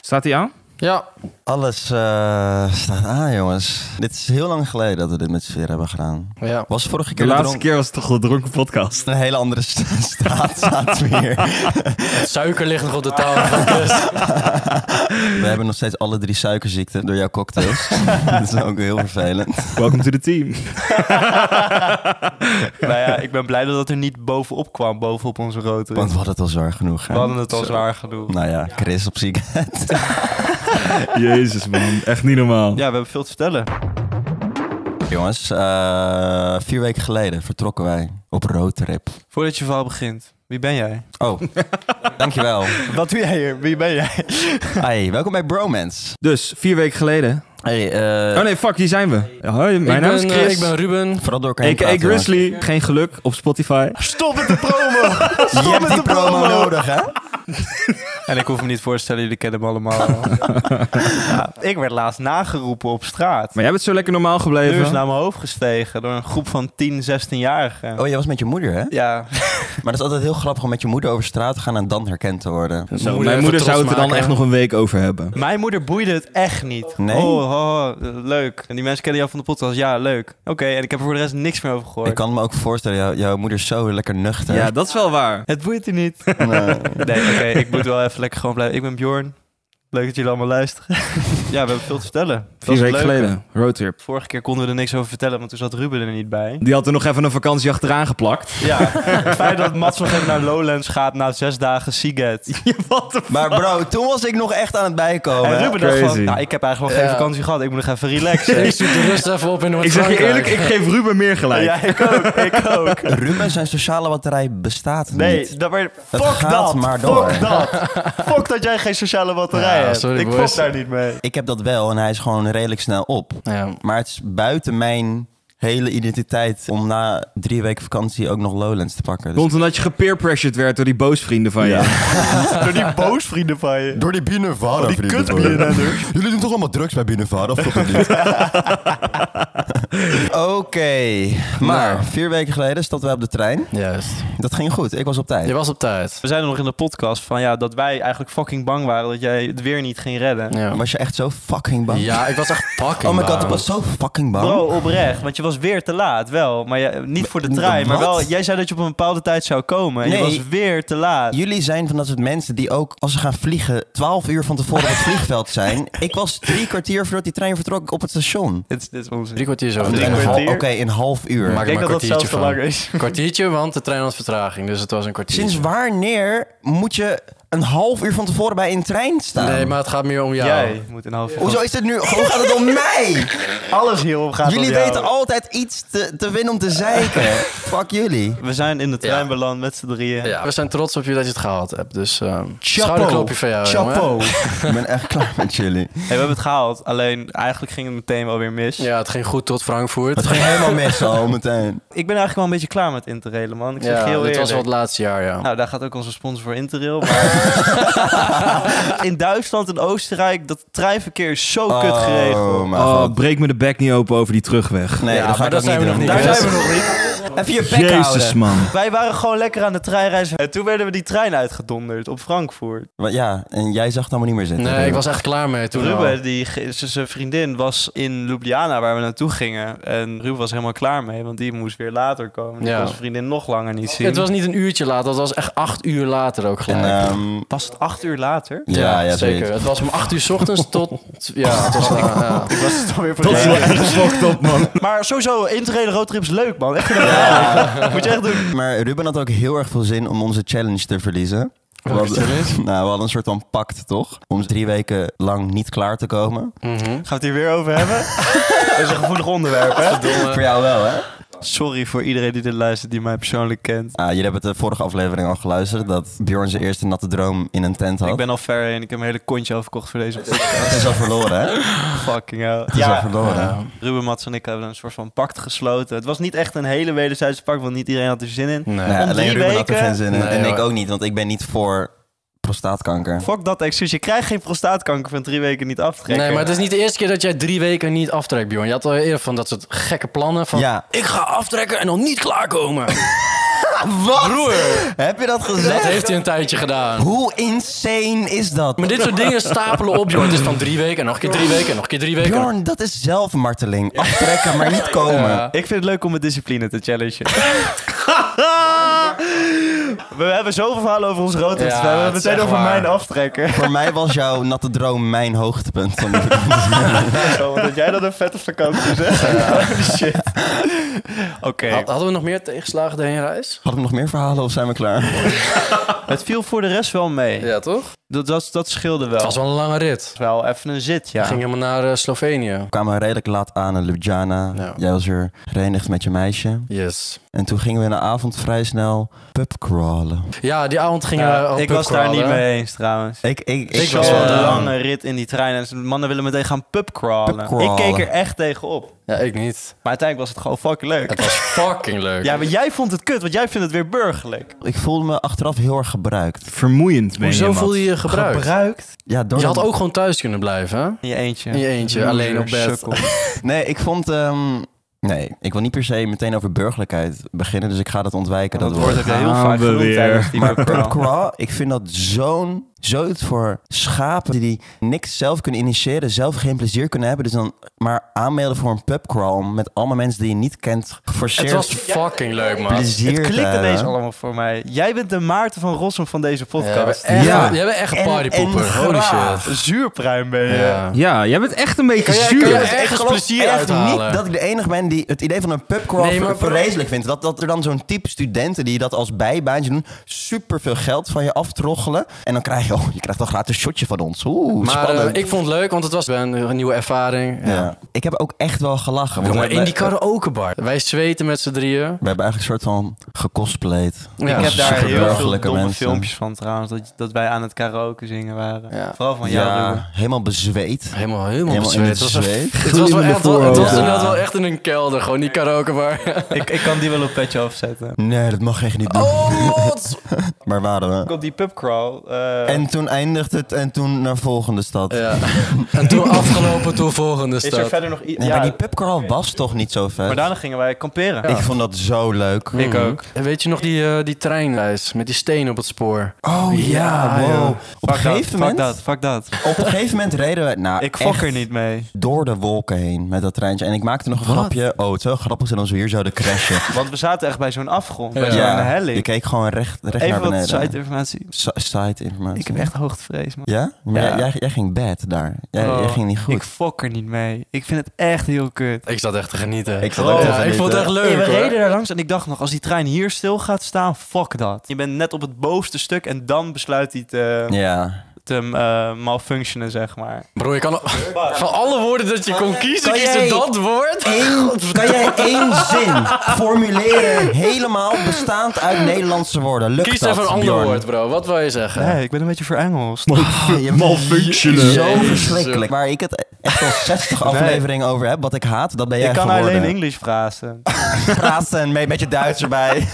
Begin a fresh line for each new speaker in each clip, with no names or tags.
Staat hij aan?
Ja,
Alles eh, staat aan, jongens. Dit is heel lang geleden dat we dit met z'n vier hebben gedaan.
ja.
Was vorige
De
keer
laatste
dronk-
keer was het toch de dronken podcast.
Een hele andere st- straat staat weer.
Het suiker ligt nog op de tafel.
We hebben nog steeds alle drie suikerziekten door jouw cocktails. dat is ook heel vervelend.
Welcome to the team.
Nou ja, ik ben blij dat het er niet bovenop kwam, bovenop onze rotor.
Want we hadden het al zwaar genoeg. hè?
We hadden het al
Zo.
zwaar genoeg.
Nou ja, Chris op ziek.
Jezus man, echt niet normaal.
Ja, we hebben veel te vertellen.
Jongens, eh, vier weken geleden vertrokken wij op roadtrip.
Voordat je verhaal begint, wie ben jij?
Oh, dankjewel.
Wat doe jij hier? Wie ben jij?
Hey, welkom bij Bromance.
Dus, vier weken geleden.
Hey, eh,
Oh nee, fuck, hier zijn we. Hoi, mijn
ik,
naam
ben,
is
eh,
Chris.
ik ben Ruben.
Vooral door elkaar heen
A.k.a.
praten, jongens.
Grizzly. Geen geluk op Spotify.
Stop met de promo!
Je hebt die promo nodig, hè?
En ik hoef me niet voor te stellen, jullie kennen hem allemaal. ja, ik werd laatst nageroepen op straat.
Maar jij bent zo lekker normaal
De deur is
gebleven.
naar mijn hoofd gestegen door een groep van 10, 16-jarigen.
Oh, jij was met je moeder, hè?
Ja,
Maar dat is altijd heel grappig om met je moeder over straat te gaan en dan herkend te worden.
Zo,
Moeder
mijn
even
moeder
trots
zou het er dan
maken.
echt nog een week over hebben.
mijn moeder boeide het echt niet.
Nee?
Oh, oh, oh, leuk. En die mensen kennen jou van de podcast. Ja, leuk. Oké, en ik heb er voor de rest niks meer over gehoord.
Ik kan me ook voorstellen, jou- jouw moeder is zo lekker nuchter.
Ja, dat is wel waar.
Het boeit je niet.
Nee.
Nee, oké, ik moet wel even lekker gewoon blijven. Ik ben Bjorn. Leuk dat jullie allemaal luisteren. ja, we hebben veel te vertellen. Dat is
Vier
het
weken
leuke.
geleden, roadtrip.
Vorige keer konden we er niks over vertellen, want toen zat Ruben er niet bij.
Die had er nog even een vakantie achteraan geplakt.
Ja, het feit dat Mats nog even naar Lowlands gaat na zes dagen Seagate.
Wat de
Maar bro, toen was ik nog echt aan het bijkomen.
en
hè?
Ruben dacht
crazy.
van, nou, ik heb eigenlijk nog
Ja.
geen vakantie gehad. Ik moet nog even relaxen.
Ik zoek de rust even op in
Ik zeg je eerlijk,
Noord-Frankrijk.
ik geef Ruben meer gelijk.
ja, ik ook, ik ook.
Ruben, zijn sociale batterij bestaat
Nee,
niet.
dat, maar fuck
gaat
dat.
maar
fuck
door.
dat. Fuck dat jij geen sociale batterij
Ja,
hebt.
sorry,
ik
boys.
fok daar niet mee.
Ik heb dat wel en hij is gewoon redelijk snel op.
Ja.
Maar het is buiten mijn hele identiteit om na drie weken vakantie ook nog Lowlands te pakken. Dus-
Komt omdat je gepeerpressured werd door die boosvrienden van je.
Door die boosvrienden van je.
Door die binnenvaren,
Oh, die dus.
vrienden,
kut
hoor.
BNN'ers.
Jullie doen toch allemaal drugs bij binnenvaren, of toch niet? Oké, maar
Nou.
vier weken geleden stapten wij op de trein.
Juist.
Dat ging goed, ik was op tijd.
Je was op tijd.
We zeiden nog in de podcast van ja, dat wij eigenlijk fucking bang waren dat jij het weer niet ging redden.
Ja,
Was je echt zo fucking bang?
ja ik was echt fucking
Oh my god,
bang.
ik was zo fucking bang.
Bro, oprecht, want je was weer te laat, wel. Maar je- niet voor de trein, maar
wat?
wel, jij zei dat je op een bepaalde tijd zou komen. En je
Nee.
was weer te laat.
Jullie zijn van dat soort mensen die ook als ze gaan vliegen 12 uur van tevoren op het vliegveld zijn. Ik was drie kwartier voordat die trein vertrok op het station.
Dit, is- dit is onzin.
Drie kwartier zo.
Of
drie
een hal-
kwartier?
Oké, een half uur.
Maak
Ik
er
denk
maar
dat dat
een
zelfs
kwartiertje
te
van.
lang is.
Kwartiertje, want de trein had vertraging, dus het was een kwartier.
Sinds wanneer moet je een half uur van tevoren bij een trein staan?
Nee, maar het gaat meer om jou.
Jij moet een half uur.
Hoezo is dit nu? Hoe gaat het om mij?
Alles hierop gaat
jullie
om jou.
weten altijd iets te, te winnen om te zeiken. Fuck jullie.
We zijn in de trein
Ja.
beland met z'n drieën.
Ja, we zijn trots op je dat je het gehaald hebt, dus... ehm schouderklopje van jou, jongen.
Chapeau. Ik ben echt klaar met jullie.
Hey, we hebben het gehaald, alleen eigenlijk ging het meteen wel weer mis.
Ja, het ging goed tot Frankfurt.
Het ging helemaal mis al meteen.
Ik ben eigenlijk wel een beetje klaar met Interrailen, man. Ik zeg
ja,
heel
dit
eerlijk.
was wel het laatste jaar, ja.
Nou, daar gaat ook onze sponsor voor Interrail. maar- in Duitsland en Oostenrijk, dat treinverkeer is zo kut geregeld.
Oh, mijn
Oh,
god.
breek me de bek niet open over die terugweg.
Nee,
Ja,
dat ga
maar
ik
daar
ook
zijn we
niet doen.
nog niet.
Daar
dat-
zijn we nog niet.
Even je bek
Jezus
houden.
man.
Wij waren gewoon lekker aan de treinreis. En toen werden we die trein uitgedonderd op Frankfurt.
Maar Ja, en jij zag het allemaal niet meer zitten.
nee, ik was echt klaar mee toen al.
Ruben, die, ge- z- zijn vriendin, was in Ljubljana waar we naartoe gingen. En Ruben was helemaal klaar mee, want die moest weer later komen. Die
Ja.
kon zijn vriendin nog langer niet zien.
Het was niet een uurtje later, dat was echt acht uur later ook
En,
gelijk.
ehm,
Was het acht uur later?
ja,
zeker.
ja, zoiets.
Het was om acht uur 's ochtends tot... Ja, het was, eh, ja.
Ik was het alweer
Dat is wel
vergeten.
echt fucked up man.
Maar sowieso, interrail roadtrip is leuk, man. Echt Moet je echt doen.
Maar Ruben had ook heel erg veel zin om onze challenge te verliezen. We
Welke
hadden-
challenge?
Nou, we hadden een soort van pact, toch? Om drie weken lang niet klaar te komen.
Mhm.
Gaan we het hier weer over hebben? Dat is een gevoelig onderwerp, hè?
eh.
Voor jou wel, hè?
Sorry voor iedereen die dit luistert die mij persoonlijk kent.
Ah, jullie hebben het de vorige aflevering al geluisterd... dat Bjorn zijn eerste natte droom in een tent had.
Ik ben al ver heen. Ik heb mijn hele kontje al verkocht voor deze
Het is al verloren, hè? Het
fucking hell.
is al verloren.
Ruben, Mats en ik hebben een soort van pact gesloten. Het was niet echt een hele wederzijdse pact, want niet iedereen had er zin in.
Nee.
Nou ja,
Om
alleen
drie
Ruben had er
weken?
geen zin in.
Nee,
en ik
hoor.
ook niet, want ik ben niet voor prostaatkanker.
Fuck dat excuus. Je krijgt geen prostaatkanker van drie weken niet aftrekken.
Nee, maar het is niet de eerste keer dat jij drie weken niet aftrekt, Bjorn. Je had al eerder van dat soort gekke plannen van...
Ja.
Ik ga aftrekken en dan niet klaarkomen.
Wat?
Broer,
Heb je dat
dat
gezegd?
heeft hij een tijdje gedaan.
Hoe insane is dat?
Maar dit soort dingen stapelen op, joh. Het is van drie weken, en nog een keer drie weken, en nog een keer drie weken.
Bjorn, dat is zelfmarteling. Aftrekken, maar niet komen.
Ja.
Ik vind het leuk om met discipline te challengen. we hebben zoveel verhalen over ons rood.
Ja,
we hebben het
het is
meteen
echt
over
waar.
mijn aftrekker.
Voor mij was jouw natte droom mijn hoogtepunt. Van die
Zo, dat jij dat een vette vakantie zegt. Holy shit. Oké.
Had- hadden we nog meer tegenslagen de heenreis?
Hadden we nog meer verhalen of zijn we klaar?
Het viel voor de rest wel mee.
Ja, toch?
Dat, dat, dat scheelde wel.
Het was wel een lange rit.
wel even een zit, ja.
We gingen helemaal naar eh, Slovenië.
We kwamen redelijk laat aan in Ljubljana.
Ja.
Jij was er gerenigd met je meisje.
Yes.
En toen gingen we in de avond vrij snel pubcrawlen.
Ja, die avond gingen
Ja,
we op
ik was daar
pubcrawlen.
niet mee eens trouwens.
Ik, ik, eh,
Ik
Zo'n
was wel down.
lange rit in die trein en mannen willen meteen gaan pubcrawlen. Ik
Pubcrawlen.
keek er echt tegen op.
Ja, ik niet.
Maar uiteindelijk was het gewoon fucking leuk.
Het was fucking leuk.
Ja, maar jij vond het kut, want jij vindt het weer burgerlijk.
Ik voelde me achteraf heel erg gebruikt.
Vermoeiend ben
Hoezo
je,
voelde je je gebruikt?
Gebruikt?
Ja, door
Je had ook gewoon thuis kunnen blijven, hè?
In je eentje.
In je eentje,
Loser,
alleen op bed.
sukkel.
Nee, ik vond... ehm, nee, ik wil niet per se meteen over burgerlijkheid beginnen. Dus ik ga dat ontwijken, dat,
Dat woord heb je heel
Gaan
vaak
we
genoemd
weer.
tijdens die
Maar
pubcrawl.
pubcrawl,
Oh.
ik vind dat zo'n zoiets voor schapen die niks zelf kunnen initiëren, zelf geen plezier kunnen hebben. Dus dan maar aanmelden voor een pubcrawl om met allemaal mensen die je niet kent, geforceerd
Het was fucking leuk, man.
plezier
Het
te
klikt
hebben.
ineens allemaal voor mij. Jij bent de Maarten van Rossum van deze
Ja,
podcast.
echt,
Ja.
Jij bent echt een
En-
partypoeper.
en
Holy
graag.
shit.
Een Zuurpruim ben je.
Ja.
Ja, jij bent echt een beetje
jij-
zuur.
kan jij-
Dus ik
ergens
geloof
plezier
echt
uithalen.
niet dat ik de enige ben die het idee van een pubcrawl
Nee, maar-
verreselijk vindt. Dat, dat er dan zo'n type studenten die dat als bijbaantje doen, superveel geld van je aftroggelen. En dan krijg je, oh, je krijgt toch gratis een shotje van ons. Oeh,
Maar eh,
spannend.
ik vond het leuk, want het was een, een nieuwe ervaring. Ja.
ja. ik heb ook echt wel gelachen. Want
Jongen,
we-
in die
we-
karaokebar. Wij zweten met z'n drieën.
We hebben eigenlijk een soort van gecosplayed.
Ja.
Ik heb daar heel veel
Superburgerlijke
domme
mensen.
filmpjes van trouwens. Dat, dat wij aan het karaoke zingen waren.
Ja.
Vooral van jou,
ja,
Ruben.
helemaal bezweet.
Helemaal, helemaal,
Helemaal in
bezweet. Het
het
was, een-
zweet.
het was wel
Gloeiende
echt, wel- het was
voorhoofd.
inderdaad wel echt in een kelder, gewoon die karaokebar.
Ik, ik kan die wel op petje afzetten.
Nee, dat mag echt niet doen.
Oh, god.
Maar waren
Ik
we.
op die pubcrawl. eh,
En toen eindigt het en toen naar volgende stad.
Ja. En toen afgelopen, toen volgende
is er
stad.
verder nog iets?
Nee,
Ja,
maar die pubcrawl was toch niet zo vet?
maar daarna gingen wij kamperen.
Ik vond dat zo leuk. Mm.
Ik ook.
En weet je nog die, eh, die treinreis met die steen op het spoor?
Oh ja, wow.
joh.
Op een gegeven
dat, fuck
moment...
dat, fuck dat.
Op een gegeven moment reden we... Nou,
Ik fok
echt
er niet mee.
Door de wolken heen met dat treintje. En ik maakte nog een grapje. Oh, het zou wel grappig zijn als we hier zouden crashen.
Want we zaten echt bij zo'n afgrond,
Ja.
bij zo'n eh, helling.
je keek gewoon recht, recht naar
Even wat
beneden.
site-informatie.
site... informatie.
Ik heb echt hoogtevrees, man.
Ja? Maar
Ja.
Jij, jij, jij ging bad daar. Jij,
Oh,
jij ging niet goed.
Ik fok er niet mee. Ik vind het echt heel kut.
Ik zat echt te genieten.
Ik zat
Oh,
ook te
ja,
genieten.
Ik vond het echt
Hey,
leuk
we reden
hoor.
daar langs en ik dacht nog, als die trein hier stil gaat staan, fuck dat. Je bent net op het bovenste stuk en dan besluit hij te,
Ja.
te eh, malfunctionen, zeg maar.
Bro, je kan van alle woorden dat je kon kiezen,
Kan
kies
jij-
je dat woord.
kan jij één zin formuleren helemaal bestaand uit Nederlandse woorden? Lukt
Kies
dat,
even een ander
Bjorn?
woord, bro. Wat wil je zeggen?
Nee, ik ben een beetje verengeld.
Ah, je bent
Malfunctionen.
Zo
Jezus.
verschrikkelijk. Waar ik het echt al 60 afleveringen over heb, wat ik haat, dat ben jij
Ik kan
geworden.
alleen Engels praten.
praten en mee met je Duits erbij.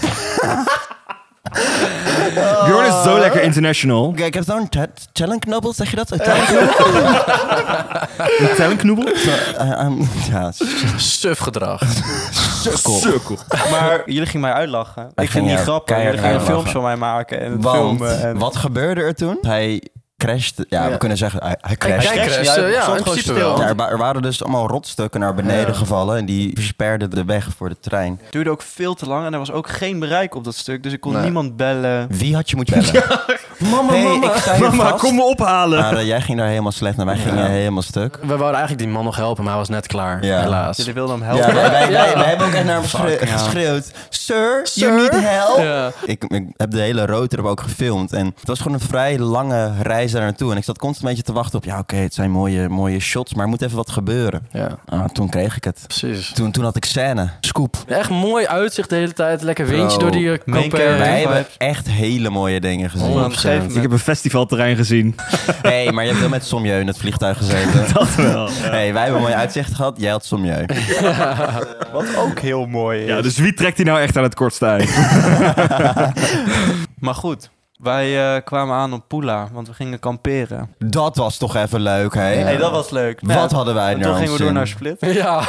Bjorn is zo lekker international.
Kijk, ik heb zo'n te- tellenknobbel, zeg je dat? Een
Eh.
tellenknobbel?
Een tellenknoebel?
Eh, ehm, ja,
Suf gedrag.
sukkel.
Sukkel.
Maar jullie gingen mij uitlachen. Ik
ging
vind het
jou
niet grappig.
keihard
Jullie gingen
uitlachen.
films van mij maken en het
Want
filmen. En...
wat gebeurde er toen? Hij crashte. Ja, we
Ja.
kunnen zeggen, hij, hij
Kijk,
crashte.
crashte.
Crash,
Ja,
eh,
het
ja,
stond
in
gewoon
principe
stil.
wel.
Ja, er, wa- er waren dus allemaal rotstukken naar beneden gevallen en die versperden de weg voor de trein.
Het duurde ook veel te lang en er was ook geen bereik op dat stuk. Dus ik kon
Nee.
niemand bellen.
Wie had je moeten bellen? mama, hey, ik sta hier
Mama,
vast.
kom me ophalen.
Maar, eh, jij ging daar helemaal slecht naar, wij gingen helemaal stuk.
We wouden eigenlijk die man nog helpen, maar hij was net klaar.
Ja.
Helaas.
Jullie wilden hem
Ja,
helpen.
wij, wij, wij- wij hebben ook echt naar hem geschre- geschreeuwd. Sir, you need help?
Ja.
Ik, ik heb de hele roadtrip ook gefilmd. En het was gewoon een vrij lange reis daar naartoe. En ik zat constant een beetje te wachten op... Ja, oké, het zijn mooie, mooie shots, maar er moet even wat gebeuren.
ja,
Ah, toen kreeg ik het.
precies.
Toen, toen had ik scène. Scoop.
Echt mooi uitzicht de hele tijd. Lekker windje
Bro,
door die eh,
main
koppen.
character.
Wij
vibes.
hebben echt hele mooie dingen gezien.
Op een gegeven moment-
Ik heb een festivalterrein gezien.
Hé, hey, maar je hebt wel met Somjeu in het vliegtuig gezeten.
Dat wel.
Hé, hey, wij hebben mooi uitzicht gehad. Jij had Somjeu.
Wat ook heel mooi is.
dus-
Ja, dus wie trekt hij nou echt aan het kortste eind?
Maar goed, Wij eh, kwamen aan op Pula, want we gingen kamperen.
Dat was toch even leuk, hè?
hey, dat was leuk.
Wat hadden wij
En
nou?
toen gingen we door naar
We
Split.
Ja,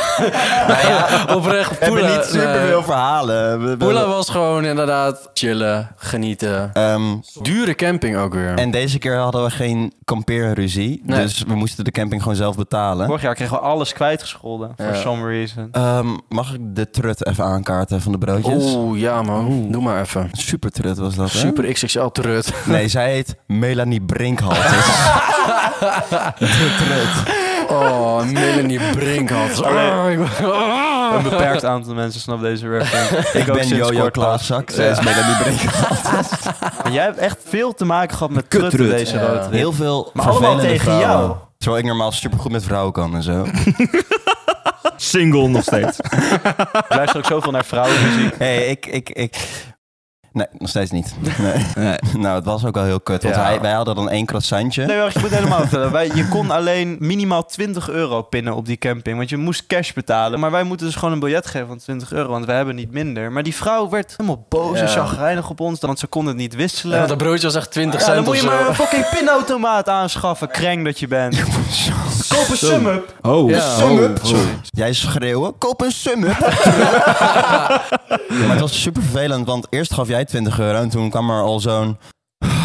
ja oprecht.
Nou hebben
Poela,
niet
nee.
superveel verhalen. We- we-
Poela was gewoon inderdaad chillen, genieten.
Eh.
Ehm,
Dure camping ook weer.
en deze keer hadden we geen kampeerruzie.
Nee.
Dus we moesten de camping gewoon zelf betalen.
Vorig jaar kregen we alles kwijtgescholden. For
Ja.
some reason.
Ehm, mag ik de trut even aankaarten van de broodjes?
Oeh, ja man. Doe maar even.
Super trut was dat, hè?
Super XXL trut.
Nee, zij heet Melanie Brinkhalter. de trut.
Oh, Melanie Brinkhoff.
Allee.
Oh, ik ben-
Een beperkt aantal mensen snapt deze reference.
Ik,
ook
ben
sinds
Jojo
kort pas.
Klaaszak. Zij is Melanie Brinkhalter.
Maar jij hebt echt veel te maken gehad met
Kuttrut.
trutten deze
Ja.
rode.
Heel veel
Maar allemaal
vervelende
tegen
vrouwen.
jou.
Terwijl ik normaal supergoed met vrouwen kan en zo.
Single nog steeds.
Ik luister ook zoveel naar vrouwenmuziek.
hey, ik, ik, ik... Nee, nog steeds niet. Nee.
Nee.
Nou, het was ook wel heel kut. Want
Ja.
hij, wij hadden dan één croissantje.
Nee, wacht, je moet helemaal vertellen. Wij, je kon alleen minimaal 20 euro pinnen op die camping. Want je moest cash betalen. Maar wij moeten dus gewoon een biljet geven van 20 euro. Want wij hebben niet minder. Maar die vrouw werd helemaal boos en
Ja.
chagrijnig op ons. Want ze kon het niet wisselen.
Ja, want dat broodje was echt 20
Ja, dan
cent
moet
of
je
zo.
maar een fucking pinautomaat aanschaffen. Kreng dat je bent. Koop een sum-up.
Oh,
Ja.
oh,
Sum-up.
oh.
Sorry.
Jij schreeuwen, koop een summer. maar het was super vervelend, want eerst gaf jij 20 euro en toen kwam er al zo'n...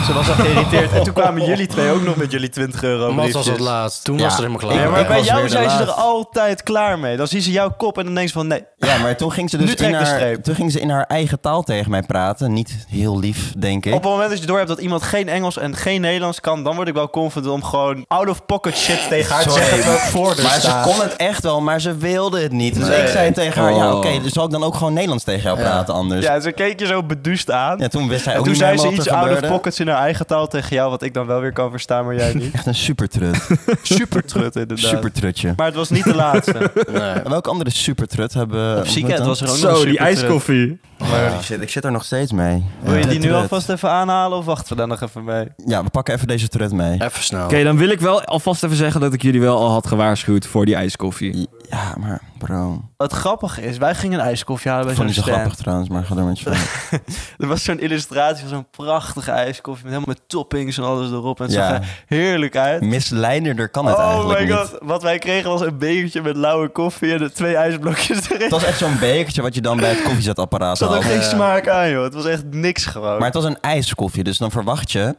Ze was al geïrriteerd. En toen kwamen jullie twee ook nog met jullie 20 euro
Mats was
briefjes.
het laatst. Toen
Ja.
was het helemaal klaar.
Ja,
Ja,
maar
ik
bij
was
jou
weer de
zijn ze er
laatste.
altijd klaar mee. Dan zien ze jouw kop en dan denken ze van nee.
Ja, maar toen ging ze
Nu
dus
trek
in
de
haar,
streep.
toen ging ze in haar eigen taal tegen mij praten. Niet heel lief, denk ik.
Op het moment dat je door hebt dat iemand geen Engels en geen Nederlands kan, dan word ik wel confident om gewoon out of pocket shit tegen haar te
Sorry,
zeggen. terwijl ik voor haar
maar ze
sta.
kon het echt wel, maar ze wilde het niet. Dus
Nee.
ik zei tegen haar, ja
Oh.
oké, dus zal ik dan ook gewoon Nederlands tegen jou praten anders? Ja.
Ja, ze keek je zo beduusd aan.
toen wist hij
en
ook
toen
niet
zei
meer
ze
wat
iets
er
out of
gebeurde.
pockets in haar eigen taal tegen jou, wat ik dan wel weer kan verstaan, maar jij niet.
Echt een supertrut.
Super trut inderdaad.
supertrutje.
Maar het was niet de laatste.
Nee.
En welke andere supertrut hebben we
Op Ziekenhuis
ontmoet
was er ook nog een
Zo, die
super
ijskoffie.
dan? Holy shit, ik zit er nog steeds mee.
Wil je
eh, Ja.
die nu
Trut.
alvast even aanhalen of wachten we daar nog even mee?
Ja, we pakken even deze trut mee.
Even snel.
Oké, dan wil ik wel alvast even zeggen dat ik jullie wel al had gewaarschuwd voor die ijskoffie.
Ja, maar bro.
Wat grappig is, wij gingen een ijskoffie halen bij
vond
zo'n
niet zo
stand.
grappig trouwens, maar ga door met je verhaal.
Er was zo'n illustratie van zo'n prachtige ijskoffie met helemaal met toppings en alles erop. En het
Ja.
zag er heerlijk uit.
Misleiderder kan het
Oh
eigenlijk
my
niet.
god, wat wij kregen was een bekertje met lauwe koffie en de twee ijsblokjes erin.
Het was echt zo'n bekertje wat je dan bij het
Er
koffiezetapparaat
zat ook
haalt.
geen smaak aan, joh. Het was echt niks gewoon.
eh, Maar het was een ijskoffie, dus dan verwacht je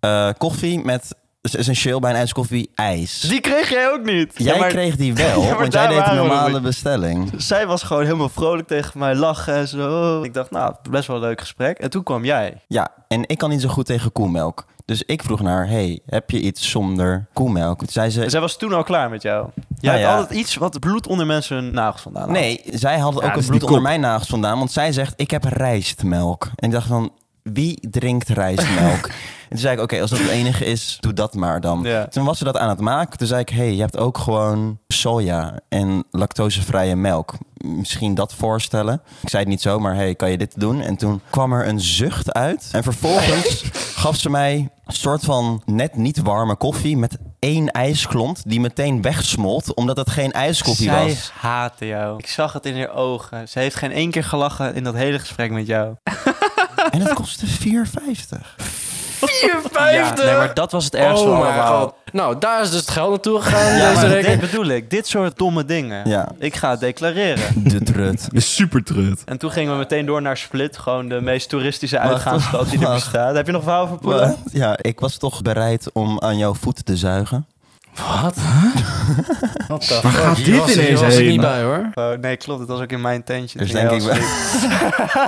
eh, koffie met... Dus essentieel bij een ijskoffie ijs.
Die kreeg jij ook niet.
Jij
Ja, maar
kreeg die wel,
Ja, maar
want jij
daar
deed een
waren we nog
normale
niet.
bestelling.
Zij was gewoon helemaal vrolijk tegen mij, lachen en zo. Ik dacht, nou, best wel een leuk gesprek. En toen kwam jij.
Ja, en ik kan niet zo goed tegen koemelk. Dus ik vroeg naar haar, hey, heb je iets zonder koemelk? Toen zei
En
ze,
zij was toen al klaar met jou. Jij
Nou
hebt
ja.
altijd iets wat bloed onder mensen hun nagels vandaan haalt.
nee, zij had ook
dat
het
is
bloed
die
onder
kop.
mijn nagels vandaan. Want zij zegt, ik heb rijstmelk. En ik dacht van, wie drinkt rijstmelk? en toen zei ik, oké, als dat het enige is, doe dat maar dan.
Ja.
Toen was ze dat aan het maken. Toen zei ik, hey, je hebt ook gewoon soja en lactosevrije melk. Misschien dat voorstellen. Ik zei het niet zo, maar hey, kan je dit doen? En toen kwam er een zucht uit. En vervolgens gaf ze mij een soort van net niet warme koffie met één ijsklont die meteen wegsmolt, omdat het geen ijskoffie
Zij
was.
haatte jou. Ik zag het in haar ogen. Ze heeft geen één keer gelachen in dat hele gesprek met jou.
En het kostte 4,50.
Ja, nee, maar dat was het ergste van
Oh my
allemaal.
god. Nou, daar is dus het geld naartoe gegaan
Ja,
deze
maar dit
rekening.
bedoel ik. Dit soort domme dingen.
Ja.
Ik ga het declareren.
De trut.
Super trut.
En toen gingen we meteen door naar Split. Gewoon de meest toeristische uitgaansstad die er
wacht.
bestaat. Heb je nog verhaal voor Poela?
Wat? Ja, ik was toch bereid om aan jouw voeten te zuigen.
Wat? Wat de
Waar gaat
Hier
dit
was ik-
ineens
hier was ik
heen?
niet bij hoor.
Oh, nee, klopt. Het was ook in mijn tentje.
Dus
Toen jij
denk ik
was
wel-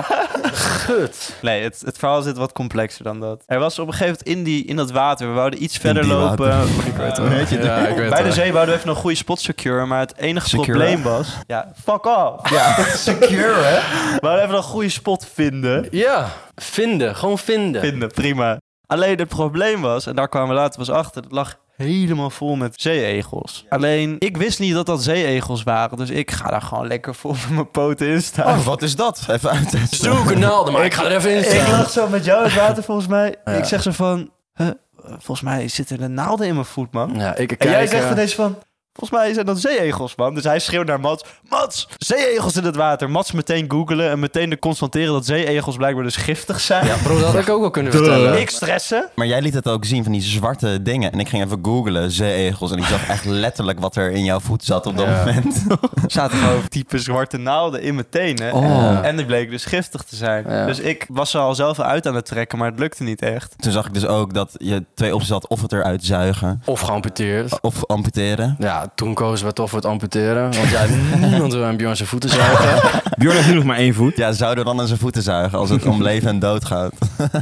Gut.
Nee, het, het verhaal zit wat complexer dan dat. Er was op een gegeven moment in, die, in dat water, we wouden iets verder
die
lopen.
water. Oh
Ik
Weet
weet
je ja, ik weet
Bij de
het.
zee wouden we even een goede spot secure, maar het enige
Secure?
probleem was... Ja, fuck off.
Ja, secure hè?
We wouden even een goede spot vinden.
Ja, vinden. Gewoon vinden.
Vinden, prima. Alleen het probleem was, en daar kwamen we later pas achter, het lag helemaal vol met zeeegels. Alleen, ik wist niet dat dat zeeegels waren, dus ik ga daar gewoon lekker vol met mijn poten in staan.
Oh, wat is dat? Even uittesten.
Zoek een naalden, maar ik ga er even in
ik
staan.
lag zo met jou in het water volgens mij. Ik zeg zo van, huh, volgens mij zitten er naalden in mijn voet, man.
Ja, ik
En jij
kijk,
zegt
eh,
ineens van... Volgens mij zijn dat zeeegels, man. Dus hij schreeuwt naar Mats. Mats, zeeegels in het water. Mats meteen googelen en meteen de constateren dat zeeegels blijkbaar dus giftig zijn.
Ja, bro, dat had ik ook wel kunnen
Duh.
vertellen.
Ik stressen.
Maar jij liet het ook zien van die zwarte dingen. En ik ging even googlen, zeeegels. En ik zag echt letterlijk wat er in jouw voet zat op dat
Ja.
moment.
Er zaten gewoon type zwarte naalden in mijn tenen.
Oh.
En die bleken dus giftig te zijn.
Ja.
Dus ik was ze al zelf uit aan het trekken, maar het lukte niet echt.
Toen zag ik dus ook dat je twee opties had. Of het eruit zuigen,
Of geamputeerd.
of amputeren.
Ja, toen kozen we toch voor het amputeren. Want ja, niemand wil aan Bjorn zijn voeten zuigen.
Björn heeft nu nog maar één voet.
Ja, zouden we dan aan zijn voeten zuigen als het om leven en dood gaat?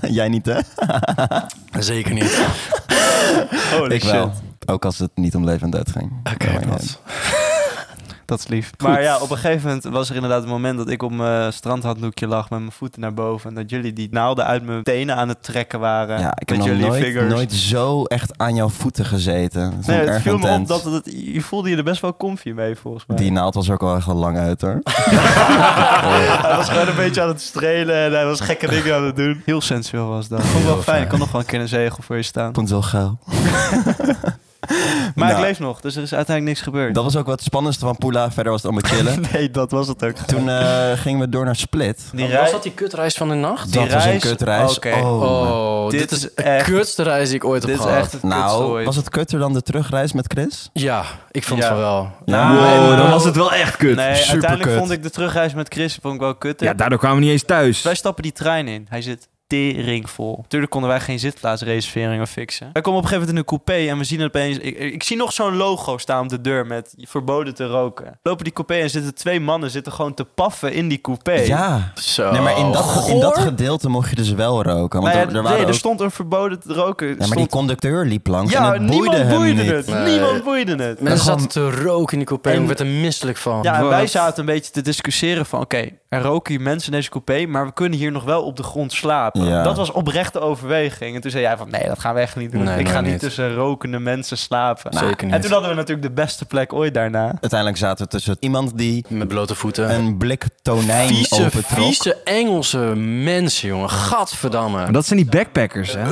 jij niet, hè?
Zeker niet.
Holy
ik wel. Ook als het niet om leven en dood ging. Oh
Oké,
Maar ja,
Mats.
Dat is lief. Maar ja, op een gegeven moment was er inderdaad een moment dat ik op mijn strandhanddoekje lag met mijn voeten naar boven. En dat jullie die naalden uit mijn tenen aan het trekken waren.
Ja, ik heb
met
nog
jullie
nooit,
vingers.
nooit zo echt aan jouw voeten gezeten. Dat vond
nee,
ik
het
erg
viel me op
intens.
dat het, je voelde je er best wel comfy mee, volgens mij.
Die naald was er ook al echt wel lang uit, hoor.
hij was gewoon een beetje aan het strelen en hij was gekke dingen aan het doen. Heel sensueel was dat. Vond ik wel fijn. Ik kan nog wel een keer een zegel voor je staan.
Ik vond het wel geil.
Maar ik
Nou.
leef nog, dus er is uiteindelijk niks gebeurd.
Dat was ook wat het spannendste van Pula. Verder was het allemaal chillen.
Nee, dat was het ook.
Toen eh, gingen we door naar Split.
Die
was
rij-
dat die kutreis van de nacht?
Die
dat was een
reis-
kutreis.
Oké.
Oh.
Oh, dit,
Dit
is
is
de
echt-
kutste reis die ik ooit heb
Dit is
gehad.
echt het
Nou,
kutzooi.
was het kutter dan de terugreis met Chris?
Ja, ik vond
Ja.
het van wel.
Ja.
Wow, dan was het wel echt kut.
Nou, Nee,
Superkut.
uiteindelijk vond ik de terugreis met Chris vond ik wel kut.
Ja, daardoor kwamen we niet eens thuis.
wij stappen die trein in. Hij zit teringvol. Tuurlijk konden wij geen zitplaatsreserveringen fixen. Wij komen op een gegeven moment in een coupé en we zien opeens... Ik, ik ik zie nog zo'n logo staan op de deur met verboden te roken. Lopen die coupé en zitten twee mannen zitten gewoon te paffen in die coupé.
Ja.
Zo.
Nee, maar in dat, in dat gedeelte mocht je dus wel roken. Want
Maar ja,
er, er
Oh. nee,
waren
er
ook...
stond een verboden te roken.
Ja, maar die
stond-
conducteur liep langs
Ja,
en het boeide
niemand
hem
boeide
niet.
het.
Nee.
Niemand boeide het.
Mensen
Gewoon-
zaten te roken in die coupé.
En-
Ik werd er misselijk van.
Ja, en
Wat?
wij zaten een beetje te discussiëren van... oké, er roken hier mensen in deze coupé... maar we kunnen hier nog wel op de grond slapen.
Ja.
Dat was oprechte overweging. En toen zei jij van... nee, dat gaan we echt niet doen.
Nee,
ik
nee,
ga niet,
niet.
tussen rokende mensen slapen.
Nou, Zeker niet.
En toen hadden we natuurlijk de beste plek ooit daarna.
Uiteindelijk zaten we tussen iemand die
Met blote voeten.
een blik tonijn
vieze,
opentrok.
vieze Engelse mensen, jongen.
Maar
Gadverdamme.
dat zijn die backpackers, hè?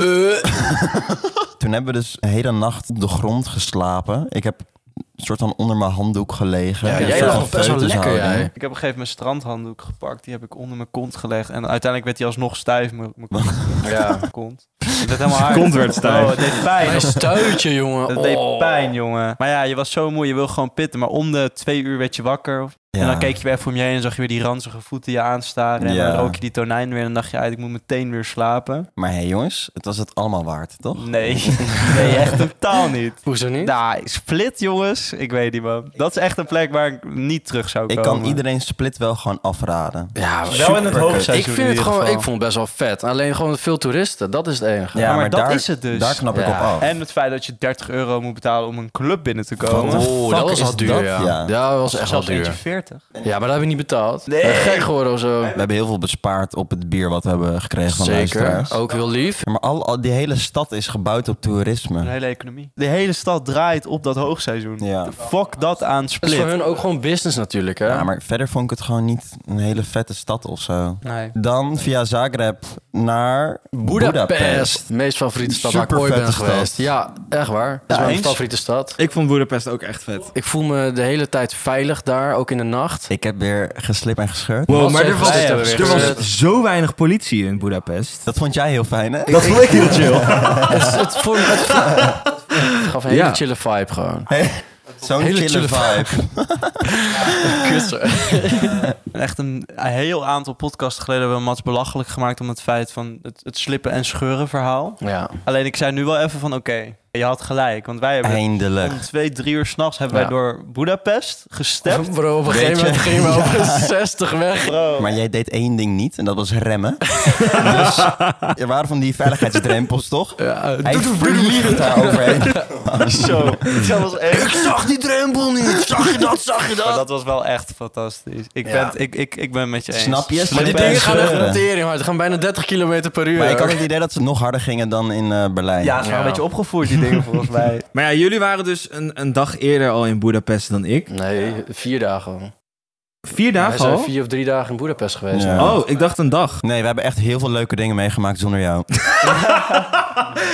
Toen hebben we dus een hele nacht op de grond geslapen. Ik heb een soort van onder mijn handdoek gelegen.
Ja,
Een
jij
soort
lag
van
best wel lekker,
feutushouding.
jij.
Ik heb op een gegeven moment strandhanddoek gepakt. Die heb ik onder mijn kont gelegd. En uiteindelijk werd die alsnog stijf. Mijn mijn kont.
Ja.
Mijn kont. Het werd helemaal hard.
Kont werd stijf.
Oh, het deed pijn.
Een stuitje, jongen.
Het deed
Oh.
pijn, jongen. Maar ja, je was zo moe. Je wil gewoon pitten. Maar om de twee uur werd je wakker. En dan keek je weer even om je heen en zag je weer die ranzige voeten je aanstaren. En
Ja.
dan rook je die tonijn weer en dan dacht je uit, ik moet meteen weer slapen.
Maar hé hey, jongens, het was het allemaal waard, toch?
Nee, nee, echt totaal niet.
Hoezo niet?
Nou, split jongens. Ik weet niet man. Dat is echt een plek waar ik niet terug zou
Ik
komen.
kan iedereen split wel gewoon afraden.
Ja,
Wel in het
ik
hoofdseizoen
vind het
in ieder
gewoon, ik
geval.
vond het best wel vet. Alleen gewoon veel toeristen, dat is het enige.
maar dat is het dus.
Daar knap ik
Ja.
op af.
En het feit dat je 30 euro moet betalen om een club binnen te
Wat
komen.
de
Oh,
fuck
dat was
is
al duur,
dat?
ja.
Ja.
ja. dat was echt wel
Zelfs eentje
duur.
40.
Ja, maar dat hebben we niet betaald.
Nee.
Eh, Gek geworden of zo.
we hebben heel veel bespaard op het bier wat we hebben gekregen van
Zeker. Oh.
luisteraars.
Ook heel lief.
Ja, maar al, al- die hele stad is gebouwd op toerisme.
Een hele economie. De hele stad draait op dat hoogsteizoen.
Ja.
Fuck dat aan
Dat is voor
split.
hun ook gewoon business natuurlijk, hè?
Ja, maar verder vond ik het gewoon niet een hele vette stad of zo.
Nee.
Dan via Zagreb naar Budapest.
Budapest. De meest favoriete stad waar ik ooit
Supervette
ben
stad.
geweest. Ja, echt waar. Dat is mijn
eens.
favoriete stad.
Ik vond Budapest ook echt vet.
Ik voel me de hele tijd veilig daar, ook in de nacht.
Ik heb weer geslip en gescheurd.
Wow,
Wat
maar
zeg
er was,
jij?
er
Gezet.
was zo weinig politie in Budapest.
Dat vond jij heel fijn, hè?
Dat vond ik heel chill.
het, het, vorm- het gaf een hele
Ja.
chille vibe gewoon.
Zo'n
Hele
chille,
chille
vibe.
Echt een heel aantal podcasts geleden hebben we Mats belachelijk gemaakt om het feit van het, het slippen en scheuren verhaal.
Ja.
Alleen ik zei nu wel even van oké, je had gelijk. Want wij hebben
Eindelijk.
om twee, drie uur s'nachts hebben wij
Ja.
door Budapest gestemd.
Bro, op een
Weet
gegeven
je?
moment gingen we over 60 weg.
Bro.
Maar jij deed één ding niet en dat was remmen. dus er waren van die veiligheidsdrempels, toch?
Ja,
Hij vliegt daar overheen.
Zo, dat was echt...
zag die drempel niet. Zag je dat? Zag je
Maar dat was wel echt fantastisch. Ik,
Ja.
ben, het- ik, ik, ik ben eh, met je eens.
Snap je?
Maar die
Slippen en
dingen gaan echt
scheuren.
een tering hard. Ze gaan bijna 30 km per uur.
Maar ik had het idee dat ze nog harder gingen dan in eh, Berlijn.
Ja, ze waren
Ja.
een beetje opgevoerd die dingen volgens mij.
Maar ja, jullie waren dus een, een dag eerder al in Budapest dan ik.
Nee, vier dagen.
Vier
Wij
dagen
zijn
al?
vier of drie dagen in Boedapest geweest.
Ja.
Oh, ik dacht een dag.
Nee, we hebben echt heel veel leuke dingen meegemaakt zonder jou.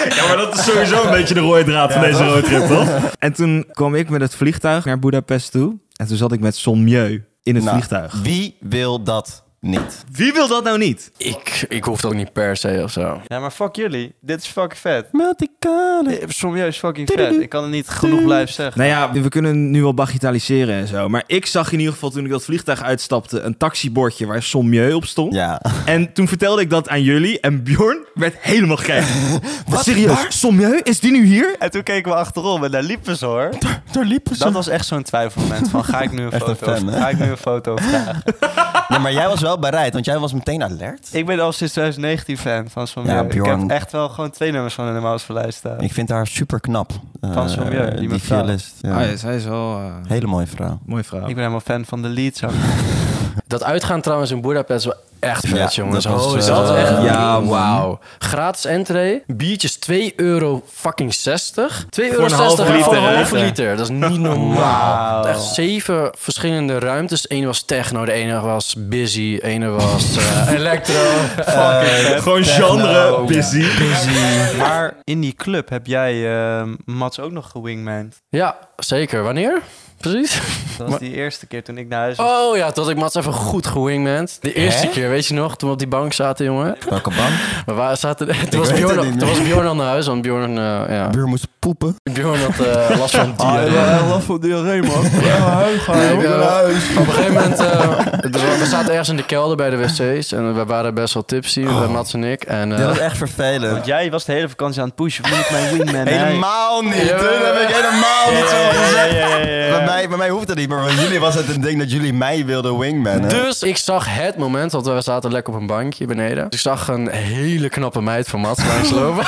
Ja, maar dat is sowieso een beetje de rode draad van deze roadtrip, toch?
En toen kwam ik met het vliegtuig naar Budapest toe. En toen zat ik met Son Mieu in het
Nou,
vliegtuig.
Wie wil dat niet?
Wie wil dat nou niet?
Ik, ik hoef dat ook niet per se of zo.
Ja, maar fuck jullie. Dit is fucking vet.
Multicolour.
Sommieu is fucking vet. Ik kan het niet genoeg blijven zeggen.
Nou ja, we kunnen nu wel bagitaliseren en zo. Maar ik zag in ieder geval toen ik dat vliegtuig uitstapte... een taxibordje waar Son Mieu op stond.
Ja.
En toen vertelde ik dat aan jullie. En Bjorn werd helemaal gek. Wat?
Waar?
Serieus? Son Mieu? Is die nu hier?
En toen keken we achterom en daar liepen ze hoor.
Daar liepen
Dat was echt zo'n twijfelmoment van ga ik nu een
Echt een
foto
fan, hè?
ga ik nu een foto vragen.
Ja, maar jij was wel bereid, want jij was meteen alert.
Ik ben al sinds 2019 fan van Sommieu.
Ja,
ik
Bjorn.
heb echt wel gewoon twee nummers van hem in mijn lijst staan.
Ik vind haar super knap.
Van Sommieu, die
die
mevrouw. Ah,
violist. Ja.
zij is wel... mooi
Hele mooie vrouw.
Mooie vrouw.
Ik ben helemaal fan van de lead zo.
Dat uitgaan trouwens in Budapest is wel echt
Ja,
vet, jongens.
dat was,
Als-
eh,
dat is echt...
ja,
wauw. Gratis entree. Biertjes 2 euro fucking 60. 2 euro
een halve
60 voor een
liter, hè?
halve liter. Dat is niet normaal.
Wauw.
Echt zeven verschillende ruimtes. De ene was techno, de ene was busy, de ene was eh, electro.
Eh,
Gewoon genre, busy.
Maar in die club heb jij ehm, Mats ook nog gewingmand.
Ja, zeker. Wanneer? Precies.
Dat was die eerste keer toen ik naar huis was.
Oh ja, dat ik Mats even goed gewingmand. De eerste
Hè?
keer, weet je nog, toen we op die bank zaten, jongen.
Welke bank?
We waren, zaten, toen,
weet
was
het
Bjorn,
niet meer.
toen was Bjorn al naar huis, want Bjorn, eh, ja.
Buur moest poepen.
Bjorn had eh, last
Ah,
van dieren.
last van diarree man.
Nee, ik, eh, op een gegeven moment, eh, dus we- we zaten ergens in de kelder bij de wc's en we waren best wel tipsy,
Oh.
met Mats en ik. En, eh,
Dit was echt vervelend.
Want jij was de hele vakantie aan het pushen. Wie moet mijn wingman?
Helemaal niet.
Ja.
Dit heb ik helemaal niet zo
Hey.
gezegd.
Ja, ja, ja, ja, ja.
Bij, mij, bij mij hoeft dat niet, maar bij jullie was het een ding dat jullie mij wilden wingmannen.
Dus ik zag het moment, want we zaten lekker op een bankje beneden. Dus ik zag een hele knappe meid van Mats langslopen.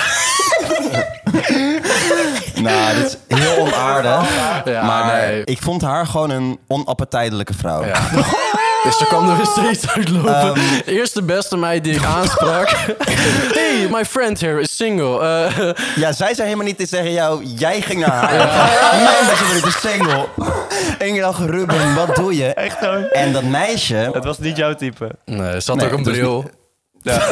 Nou, dit is heel onaardig.
ja,
maar eh,
nee.
ik vond haar gewoon een onappetitelijke vrouw.
Ja. Dus toen kwam er weer steeds uitlopen. De Eerste beste meid die ik aansprak. hey, my friend here is single. Eh,
Ja, zij zei helemaal niet te zeggen jou, jij ging naar haar. Mijn beste vriend is dus single. En ik dacht, Ruben, wat doe je?
Echt hoor.
En dat meisje,
Het was niet jouw type.
nee, zat
Nee,
ook een
dus
bril.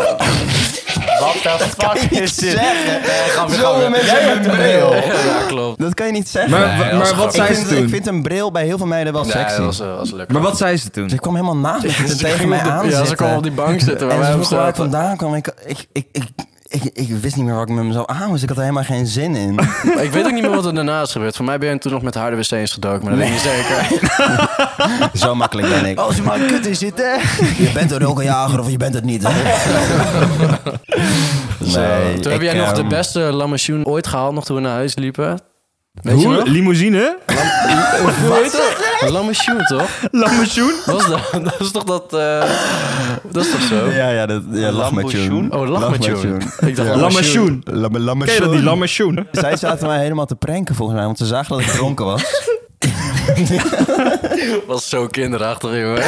What the fuck is dit?
zeggen, zoveel mensen met een bril.
ja, klopt.
Dat kan je niet zeggen.
Maar,
Nee, dat was
maar wat
grappig.
zei
ik,
ze
vind, ik
toen?
vind een bril bij heel veel meiden wel
Nee,
sexy.
dat was, eh, was leuk.
Maar wat zei ze toen?
Ze kwam helemaal naast me zitten, tegen mij aan
Ja, ze
zitten.
kwam op die bank zitten waar
En
wij
ze
op
vroeg waar ik
zaten.
vandaan kwam. Ik, ik, ik, ik, ik, ik wist niet meer wat ik met mezelf aan moest. Ik had er helemaal geen zin in.
Maar ik weet ook niet meer wat er daarna is gebeurd. Voor mij ben je toen nog met haar de wc eens gedoken, maar dat weet ik niet zeker.
Zo makkelijk ben ik.
Als je maar kut is dit hè.
Je bent een rokenjager of je bent het niet. Hè? Nee,
toen heb
ik,
jij nog de
ehm,
beste lamasjoen ooit gehaald, nog toen we naar huis liepen. Weet je
Hoe?
nog?
Limousine?
Hoe heet dat? Lamasjoen, toch?
Lammersjoen?
Dat is, dat, dat is toch dat... eh, dat is toch zo?
Ja, ja, dat, ja lach met
Lamborghini?
Oh, lamasjoen. Ik dacht lamasjoen.
Lammersjoen. Ken je dat, die lammersjoen?
Zij zaten mij helemaal te pranken volgens mij, want ze zagen dat ik dronken was.
was zo kinderachtig, jongen.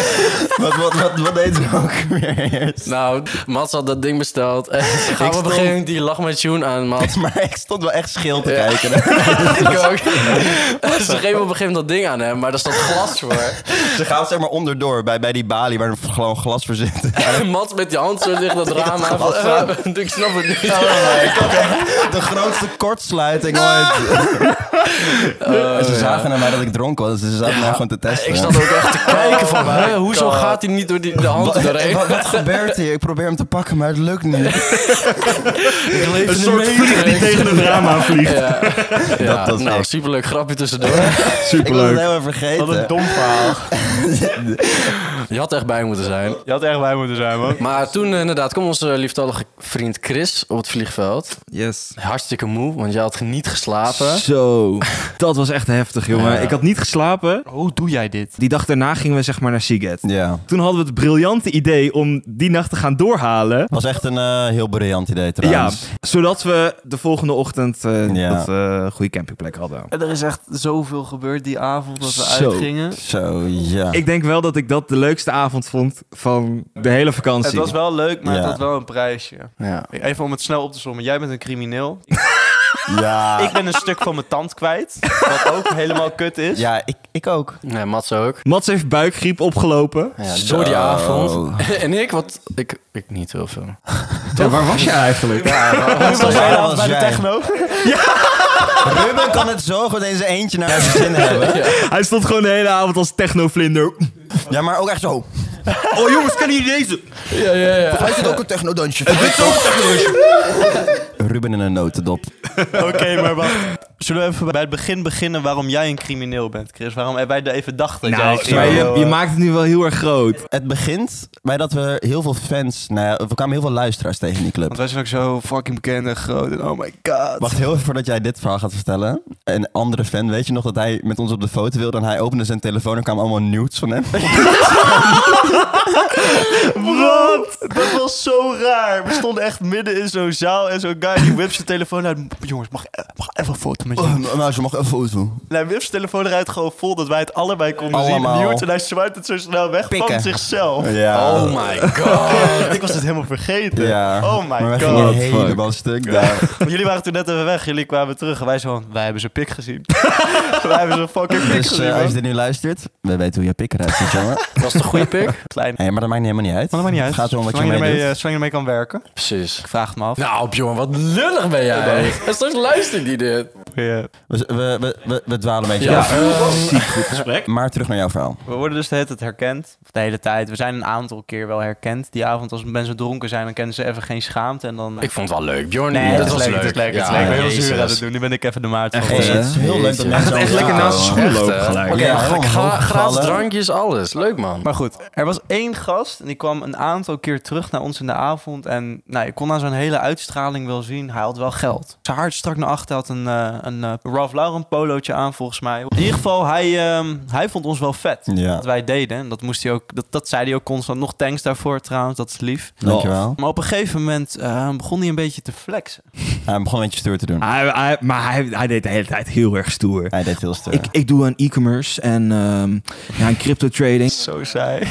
wat, wat, wat, wat deed ze ook weer eerst?
Nou, Mats had dat ding besteld. En gaan we op een
stond-
gegeven moment die lachmatjoen aan, Mats.
Maar ik stond wel echt scheel te
Ja.
kijken. Hè?
Ik ook. Ze geven op een gegeven moment dat ding aan hem, maar daar staat glas voor.
Ze gaan zeg maar onderdoor bij, bij die balie waar er gewoon glas voor zit.
En Mats met die hand zo tegen dat raam aan. van, eh, ik snap het niet.
De grootste kortsluiting ooit. En ze zagen naar mij dat ik dronken was. Dus ze zaten mij gewoon te testen.
Ik zat ook echt te kijken van, hè, hoezo
God.
gaat hij niet door die, de hand
Wat,
doorheen?
wat, wat gebeurt hier? Ik probeer hem te pakken, maar het lukt niet.
Een soort vlieg die tegen een raam aan vliegt.
Ja, ja
dat is
nou,
echt-
superleuk grapje tussendoor.
Ik was het
Superleuk.
helemaal vergeten.
Wat een dom verhaal.
Je had er echt bij moeten zijn.
Je had er echt bij moeten zijn man.
Maar toen eh, inderdaad kwam onze lieftallige vriend Chris op het vliegveld.
Yes.
Hartstikke moe, want jij had niet geslapen.
Zo, dat was echt heftig, jongen. Ik had niet geslapen.
Hoe doe jij dit?
Die dag daarna gingen we zeg maar naar Seagate.
Ja.
Toen hadden we het briljante idee om die nacht te gaan doorhalen.
Was echt een eh, heel briljant idee trouwens.
Ja, zodat we de volgende ochtend eh,
Ja.
dat eh, goede campingplek hadden.
Er is echt zoveel gebeurd die avond dat we
Zo.
uitgingen.
Zo, ja.
Ik denk wel dat ik dat de leukste avond vond van de hele vakantie.
Het was wel leuk, maar het
Ja.
had wel een prijsje.
Ja.
Even om het snel op te sommen. Jij bent een crimineel.
Ja,
Ik ben een stuk van mijn tand kwijt. Wat ook helemaal kut is.
ja ik, ik ook.
Nee, Mats ook.
Mats heeft buikgriep opgelopen.
Ja,
Zo.
door die avond. en ik, wat... Ik, ik niet heel veel.
waar was je eigenlijk?
Dat
Waar
was jij dan
was
bij de
jij?
techno.
Ruben kan het zo goed in zijn eentje naar zijn zin hebben.
Hij stond gewoon de hele avond als technovlinder.
Ja, maar ook echt zo.
Oh jongens, kan hier lezen?
Ja, ja, ja.
Hij zit ook een technodansje. technodansje. Ruben in een notendop.
Oké, maar wacht. Zullen we even bij het begin beginnen waarom jij een crimineel bent, Chris? Waarom wij er even dachten dat jij een
Nou, maar
crimineel,
je, je
eh,
maakt het nu wel heel erg groot.
Het begint bij dat we heel veel fans... Nou ja, we kwamen heel veel luisteraars tegen in die club.
Want wij zijn ook zo fucking bekend en groot en oh my god.
Wacht heel even voordat jij dit verhaal gaat vertellen. Een andere fan, weet je nog dat hij met ons op de foto wilde... en hij opende zijn telefoon en kwamen allemaal nudes van hem?
Wat? Dat was zo raar. We stonden echt midden in zo'n zaal en zo'n guy die whipt zijn telefoon uit. Jongens, mag, e- mag even een foto met je?
Oh, nou, ze mag even foto.
En hij whipt zijn telefoon eruit gewoon vol dat wij het allebei konden
Allemaal.
zien. Newt en hij zwaait het zo snel weg van
Pikken.
zichzelf.
Ja.
Oh my god.
Ik was het helemaal vergeten.
Ja.
Oh my
maar wij
god.
gingen
What the fuck.
helemaal stuk daar.
Want jullie waren toen net even weg. Jullie kwamen terug en wij zo van, wij hebben zijn pik gezien. wij hebben zijn fucking pik
Dus
gezien.
eh, als je
man.
dit nu luistert, we weten hoe je pik eruit ziet, jongen.
Was het een goede pick?
Klein.
Hé, maar dat maakt niet helemaal niet uit.
Maar dat maakt niet uit.
Het gaat erom wat je
Zolang
mee
ermee,
doet.
eh, zolang je ermee kan werken.
Precies.
Ik vraag het me af.
Nou, Bjorn, wat lullig ben jij. En straks luistert die dit.
Ja.
We, we, we, we, we dwalen een beetje
Ja.
af.
ehm,
Maar terug naar jouw verhaal.
We worden dus de hele tijd herkend. Of de hele tijd. We zijn een aantal keer wel herkend. Die avond als mensen dronken zijn, dan kennen ze even geen schaamte. En dan...
ik vond het wel leuk, Bjorn.
nee,
Ja,
dat
was
is leuk. Dat is leuk. Dat is leuk. Ik ben heel
Jezus.
zuur aan het doen. Nu ben ik even de maat van. eh,
Echt,
Hey.
hè?
het is heel leuk dat
Jeetje.
mensen
Echt
zo
lekker
praten,
naast zijn
hoor.
schoen
eh,
lopen
Echt, hè?
gelijk.
Oké.
Ja,
helemaal
gra- gra-
omhoog
gratis
vallen.
drankjes, alles. Leuk, man.
Maar goed, er was één gast en die kwam een aantal keer terug naar ons in de avond. En nou, je kon aan zijn hele uitstraling wel zien, hij had wel geld. Zijn haar strak naar achter, had een, eh een eh, Ralph Lauren polootje aan volgens mij. In ieder geval, hij, ehm, hij vond ons wel vet.
Ja,
Wat wij deden, en dat, moest hij ook, dat, dat zei hij ook constant. Nog thanks daarvoor trouwens, dat is lief.
dankjewel.
Maar op een gegeven moment eh, begon hij een beetje te flexen.
Hij begon een beetje stoer te doen.
Hij, hij- maar hij, hij deed de hele tijd heel erg stoer.
Hij deed heel stoer.
Ik, ik doe aan e-commerce en ehm, ja, aan crypto trading.
Zo zei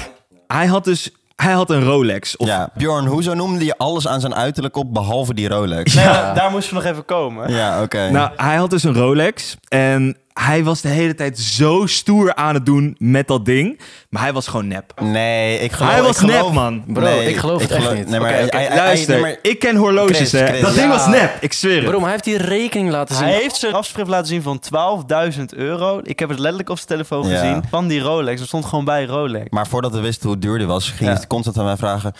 Hij had dus hij had een Rolex. Of,
Ja, Bjorn, hoezo noemde je alles aan zijn uiterlijk op behalve die Rolex?
Nou ja, daar moesten we nog even komen.
Ja, oké.
Nou, hij had dus een Rolex en hij was de hele tijd zo stoer aan het doen met dat ding. Maar hij was gewoon nep.
Nee, ik geloof...
hij
ik
was
geloof-
nep, man.
Bro, ik geloof het echt niet.
Nee, maar
Oké,
hij-
oké,
hij- hij-
Luister,
nee, maar-
ik ken horloges,
Chris,
hè.
Chris.
dat ding
Ja.
was nep, ik zweer het.
Bro, maar hij heeft die rekening laten zien.
Hij heeft zijn afschrift laten zien van 12.000 euro. Ik heb het letterlijk op zijn telefoon
Ja.
gezien. Van die Rolex. Er stond gewoon bij Rolex.
Maar voordat we wisten hoe duur die was, ging
Ja.
hij constant aan mij vragen...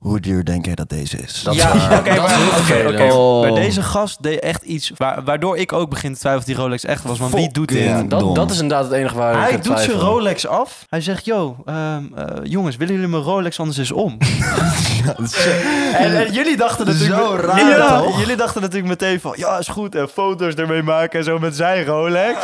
Hoe duur denk jij dat deze is? Dat
ja,
is waar.
oké, maar
is
oké,
vervelend.
oké.
Oh.
Maar deze gast deed echt iets wa- waardoor ik ook begin te twijfelen of die Rolex echt was. Want wie doet dit?
Fucking dom.
Dat, dat is inderdaad het enige waar ik
Hij
aan
doet zijn
twijfel.
Rolex af. Hij zegt, yo, ehm, eh, jongens, willen jullie mijn Rolex anders is om? en, en jullie dachten natuurlijk...
Zo raar,
Ja,
toch?
Jullie dachten natuurlijk meteen van, ja, is goed. En foto's ermee maken en zo met zijn Rolex.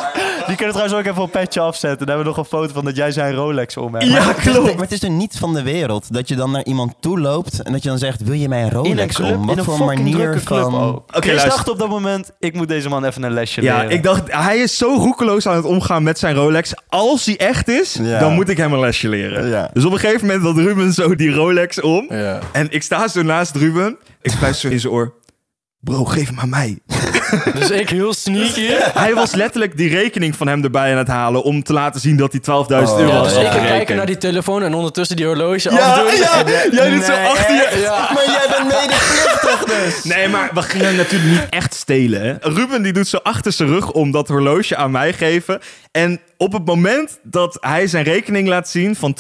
Die kunnen trouwens ook even op petje afzetten. Daar hebben we nog een foto van dat jij zijn Rolex om hebt.
ja,
Het is-
klopt.
Maar het is er niet van de wereld dat je dan naar iemand toe loopt en dat je dan zegt: Wil je mij een
In een
Rolex
club,
om? Wat
in een
voor
fucking drukke
manier
club
van.
ook.
Oké,
Chris
luister.
dacht op dat moment, ik moet deze man even een lesje
Ja,
leren.
ik dacht, hij is zo roekeloos aan het omgaan met zijn Rolex. Als hij echt is,
Ja.
dan moet ik hem een lesje leren.
Ja.
Dus op een gegeven moment had Ruben zo die Rolex om.
Ja.
En ik sta zo naast Ruben. Ik fluister zo in zijn oor. Bro, geef hem aan mij.
Dus ik heel sneaky.
Hij was letterlijk die rekening van hem erbij aan het halen... om te laten zien dat hij 12.000
Oh,
euro
ja,
had
Dus ik
afgerekend.
ga kijken naar die telefoon en ondertussen die horloge
Ja,
afdoen.
ja, jij doet zo
Nee,
achter je...
Ja.
Maar jij bent medeplichtig dus.
Nee, maar we gingen hem natuurlijk niet echt stelen. Hè? Ruben die doet zo achter zijn rug om dat horloge aan mij geven. En op het moment dat hij zijn rekening laat zien van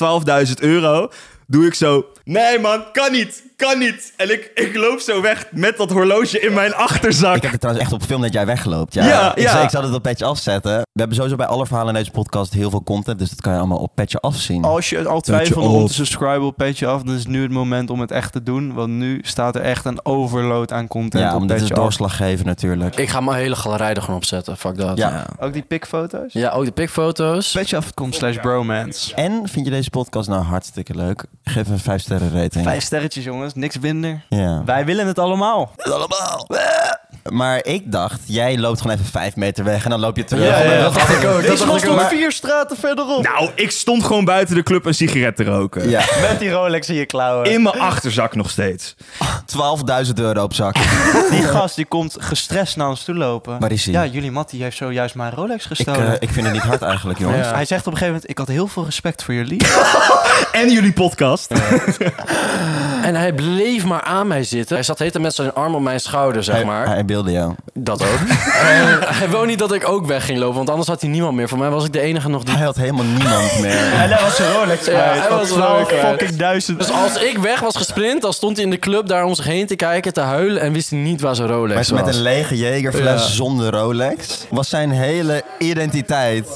12.000 euro, doe ik zo... Nee man, kan niet, kan niet. En ik, ik loop zo weg met dat horloge in mijn achterzak.
Ik heb het trouwens echt op film dat jij wegloopt. Ja,
Ja,
ik,
ja.
Zei, ik zal het op petje afzetten. We hebben sowieso bij alle verhalen in deze podcast heel veel content, dus dat kan je allemaal op petje afzien.
Als je al
je
twijfelde om
op.
te subscriben op Petje Af, dan is nu het moment om het echt te doen. Want nu staat er echt een overload aan content
ja,
op
omdat het
Petje
is
Af.
doorslaggevend natuurlijk.
Ik ga mijn hele galerij er gewoon op zetten. Fuck dat.
Ja.
Ook die pikfoto's?
Ja, ook de pikfoto's.
Petjeaf.com slash bromance.
En vind je deze podcast nou hartstikke leuk? Geef een 5 sterren rating.
Vijf sterretjes jongens, niks minder.
Ja.
Wij willen het allemaal.
allemaal. Maar ik dacht, jij loopt gewoon even vijf meter weg en dan loop je terug.
Ja, ja,
En
dat dacht ik ook, dat dacht ik ook.
vier straten verderop.
Nou, ik stond gewoon buiten de club een sigaret te roken.
Ja.
Met die Rolex in je klauwen.
In mijn achterzak nog steeds.
12.000 euro op zak.
Die gast die komt gestrest naar ons toe lopen.
Waar is hij?
Ja, jullie Mattie heeft zojuist mijn Rolex
ik,
gestolen.
eh, ik vind het niet hard eigenlijk, jongens.
Ja.
Hij zegt op een gegeven moment, ik had heel veel respect voor jullie.
En jullie podcast.
En hij bleef maar aan mij zitten. Hij zat de hele tijd met zijn arm op mijn schouder, zeg maar.
Hij, hij beelde jou.
Dat ook. Eh, hij wou niet dat ik ook weg ging lopen, want anders had hij niemand meer. Voor mij was ik de enige nog die...
Hij had helemaal niemand meer.
En daar was zijn Rolex
Ja,
uit.
hij
van
was zijn
12
Rolex uit.
fucking duizend.
Dus als ik weg was gesprint, dan stond hij in de club daar om zich heen te kijken, te huilen en wist hij niet waar zijn
Maar
Rolex
ze met
was.
een lege Jagerfles
Ja.
zonder Rolex was zijn hele identiteit.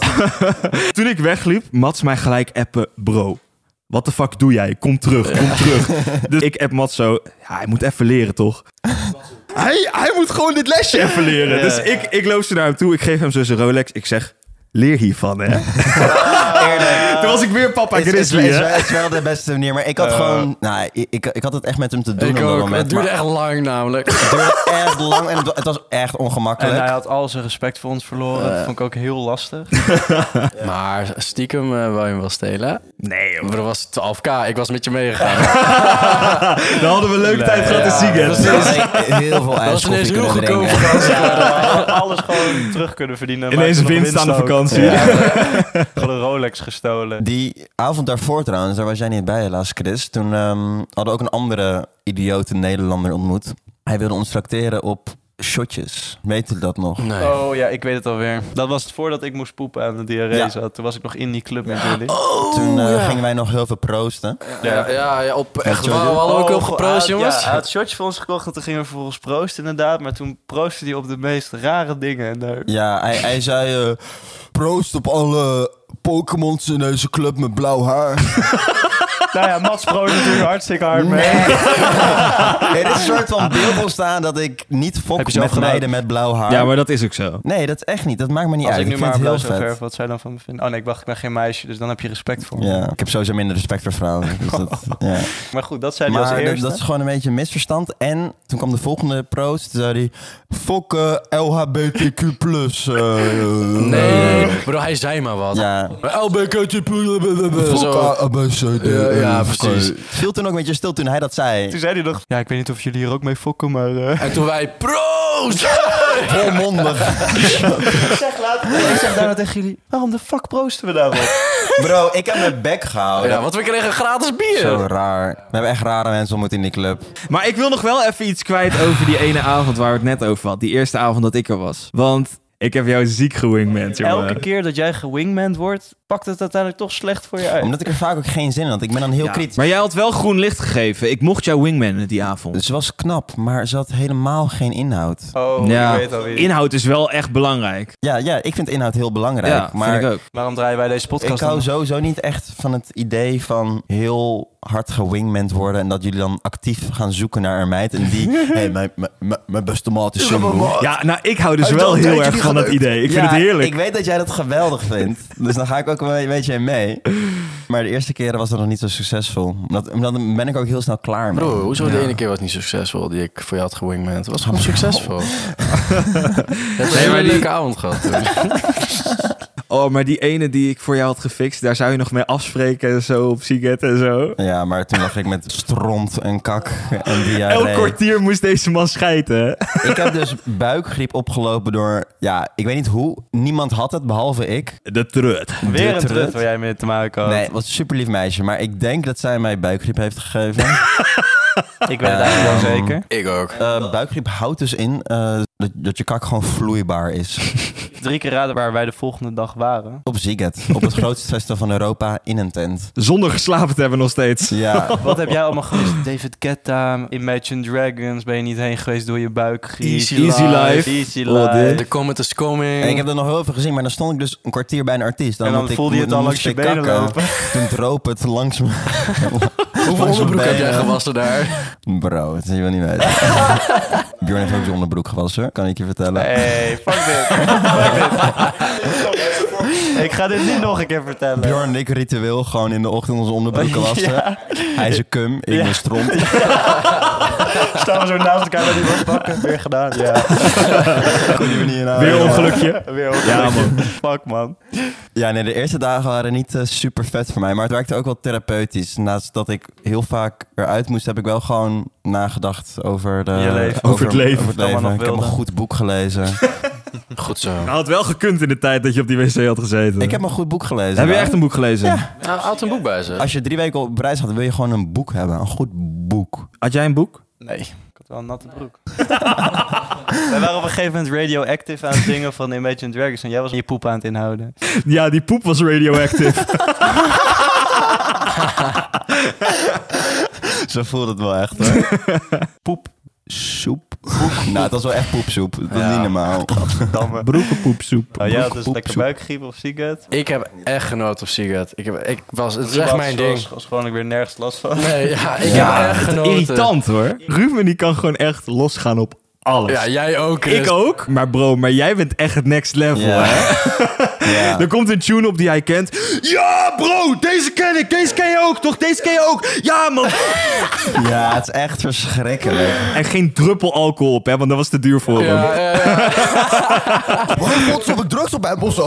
Toen ik wegliep, Mats mij gelijk appen, bro. Wat de fuck doe jij? Kom terug, kom terug. Dus ik app Mats zo, ja, hij moet even leren toch? Hij, hij moet gewoon dit lesje even leren. Dus ik, ik loop ze naar hem toe, ik geef hem zo zijn Rolex. Ik zeg, leer hiervan hè.
Ah,
Toen was ik weer papa
Het is, is,
Grizzly
is,
hè.
is wel de beste manier, maar ik had gewoon... Nou, ik, ik, ik had het echt met hem te doen op
ik
dat
ook.
moment.
Het duurde
maar
echt lang namelijk.
het duurde echt lang en het, het was echt
En
ongemakkelijk.
hij had al zijn respect voor ons verloren. Dat vond ik ook heel lastig.
Maar stiekem eh wou je hem wel stelen.
Nee joh.
Maar dat was 12k. Ik was met je meegegaan.
Dan hadden we een leuke tijd gehad in Seagate.
Dan had ik heel veel
Dat was ineens heel
ijskoffie kunnen
goedkoop
drinken.
vakantie.
had alles gewoon terug kunnen verdienen.
Ineens een winst aan de vakantie.
Gewoon een Rolex gestolen.
Die avond daarvoor trouwens, daar was jij niet bij helaas Chris. Toen ehm, hadden we ook een andere idiote Nederlander ontmoet. Hij wilde ons tracteren op shotjes. Weet u dat nog?
Nee.
Oh ja, ik weet het alweer. Dat was het voordat ik moest poepen aan de diarree
Ja.
zat. Toen was ik nog in die club met jullie.
Toen eh,
ja.
gingen wij nog heel veel proosten.
Ja, ja, ja, op echt.
Jojo.
Wow, we hadden ook
Oh,
op geproost,
hij had-
jongens.
Ja, hij had shotjes voor ons gekocht en toen gingen we vervolgens proosten inderdaad. Maar toen proostte hij op de meest rare dingen. En daar...
Ja, hij, hij zei... eh, proost op alle Pokémon's in deze club met blauw haar.
Nou ja, Mats proostte natuurlijk hartstikke hard mee.
Nee. er is een soort van beeld ontstaan dat ik niet
Heb je
fok
zelf
met
gedaan?
meiden met blauw haar.
Ja, maar dat is ook zo.
Nee, dat echt niet. Dat maakt me niet
Als
uit.
ik nu maar
vind
blauw
het
zou
heel vet.
verven, wat zij dan van me vinden. Oh nee, ik wacht, ik ben geen meisje, dus dan heb je respect voor me.
Ja, ik heb sowieso minder respect voor vrouwen. Dus dat, ja.
Maar goed, dat zei hij als
Maar dat,
eerste.
dat is gewoon een beetje een misverstand. En toen kwam de volgende proost. Toen zei hij... Fok eh, LHBTQ+. plus eh,
Nee, nee, nee. Bro, hij zei maar wat.
Ja. ah.
LBKT.
Zo.
Zo. Ja, ja, precies.
Viel toen ook een beetje stil toen hij dat zei.
Toen zei hij nog, ja, ik weet niet of jullie hier ook mee fokken, maar... eh
En toen wij proost!
Volmondig.
zeg later, ik zeg daarna tegen jullie, waarom de fuck proosten we daarop?
Bro, ik heb mijn bek gehouden.
Ja, want we kregen gratis
Zo
bier.
raar. We hebben echt rare mensen ontmoet in die club.
Maar ik wil nog wel even iets kwijt over die ene avond waar we het net over hadden. Die eerste avond dat ik er was. Want ik heb jou ziek gewingmand, jongen.
Elke keer dat jij gewingmand wordt, pakt het uiteindelijk toch slecht voor je uit.
Omdat ik er vaak ook geen zin in had. Ik ben dan heel
Ja,
kritisch.
Maar jij had wel groen licht gegeven. Ik mocht jou wingmannen die avond.
Ze was knap, maar ze had helemaal geen inhoud.
Oh,
Ja.
ik weet alweer.
Inhoud is wel echt belangrijk.
Ja, ja, ik vind inhoud heel belangrijk.
ja,
maar
vind ik ook.
Waarom draaien wij deze podcast
Ik hou
dan?
sowieso niet echt van het idee van heel hard gewingmand worden. En dat jullie dan actief gaan zoeken naar een meid. En die, hé, hey, mijn- mijn- mijn- mijn beste maat is single.
Ja, nou, ik hou dus wel heel erg van dat idee. Ik
Ja,
vind het heerlijk.
Ik weet dat jij dat geweldig vindt. Dus dan ga ik ook wel een beetje in mee. Maar de eerste keren was dat nog niet zo succesvol. Omdat, omdat dan ben ik ook heel snel klaar mee.
Bro, hoezo de
Ja.
ene keer was het niet succesvol die ik voor jou had gewingmand? Het was gewoon succesvol. Het is een
Nee, maar
hele
die-
leuke avond gehad. toen.
Oh, maar die ene die ik voor jou had gefixt, daar zou je nog mee afspreken en zo op Siget en zo.
Ja, maar toen lag ik met stront en kak en diarree.
Elk kwartier moest deze man schijten. hè?
Ik heb dus buikgriep opgelopen door... Ja, ik weet niet hoe. Niemand had het, behalve ik.
De trut.
Weer een
Dit
trut
trut.
waar jij mee te maken had.
Nee, het was een super lief meisje. Maar ik denk dat zij mij buikgriep heeft gegeven.
Ik weet het eigenlijk wel
Ehm,
zeker.
Ik ook.
Eh, buikgriep houdt dus in eh, dat, dat je kak gewoon vloeibaar is.
Drie keer raden waar wij de volgende dag waren.
Op Ziget, op het grootste festival van Europa, in een tent.
Zonder geslapen te hebben nog steeds.
Ja,
Wat heb jij allemaal gemist? David Guetta, Imagine Dragons, ben je niet heen geweest door je buik?
Easy Life.
Easy
Oh,
Life.
dit.
The comment is coming.
en ik heb er nog heel veel gezien, maar dan stond ik dus een kwartier bij een artiest.
En dan
moet ik-
voelde je het
dan
al
moest
langs je
ik
benen
kakken.
lopen.
Toen droop het langs me.
Hoeveel
Langs
onderbroek
mijn
heb jij
benen.
gewassen daar?
Bro, dat is je wel niet weten. Bjorn heeft ook zijn onderbroek gewassen, kan ik je vertellen.
Hey, fuck dit. Ik ga dit niet nog een keer vertellen.
Bjorn en ik ritueel gewoon in de ochtend onze onderbroeken wassen.
Ja.
Hij is een cum, ik
Ja.
ben stront.
Staan we zo naast elkaar bij die wasbakken. Weer gedaan, ja.
Goeie manier nou.
Weer
Ja.
ongelukje.
Weer ook.
Ja, man.
Fuck, man.
Ja, nee, de eerste dagen waren niet eh, super vet voor mij. Maar het werkte ook wel therapeutisch. Naast dat ik heel vaak eruit moest, heb ik wel gewoon nagedacht over, de,
Je leven.
Over het leven.
over
Wat allemaal nog
Ik heb een
wilde.
goed boek gelezen.
Goed zo. Nou,
Hij had wel gekund in de tijd dat je op die wc had gezeten.
ik heb een goed boek gelezen.
Heb je
maar
echt een boek gelezen?
Nou, houd een boek bij ze.
Als je drie weken op reis gaat, wil je gewoon een boek hebben. Een goed boek.
Had jij een boek?
Nee. Ik had wel een natte broek. Wij waren op een gegeven moment radioactive aan het zingen van Imagine Dragons. En jij was je poep aan het inhouden.
Ja, die poep was radioactive.
Zo voelt het wel echt. Hoor. poep. Soep. Nou, het was wel echt poepsoep. Dat is
Ja.
niet normaal.
Damme.
Broekenpoepsoep.
Nou, jij had dus
Broek,
lekker
soep.
buikgriep of ziekheid.
Ik heb echt genoten op Sigat. Ik, heb, ik was, het is echt mijn ding.
Was gewoon ik weer nergens last van.
Nee, ja, ik
Ja,
heb echt genoten.
Irritant hoor. Ruben die kan gewoon echt losgaan op alles.
Ja, jij ook. Chris.
ik ook. Maar bro, maar jij bent echt het next level
Ja.
hè.
Ja.
Er komt een tune op die hij kent. Ja bro, deze ken ik. Deze ken je ook toch? Deze ken je ook. Ja man.
ja, het is echt verschrikkelijk.
En geen druppel alcohol op hè, want dat was te duur voor hem.
Ja, ja, ja.
Waarom botsen ik drugs op mijn bos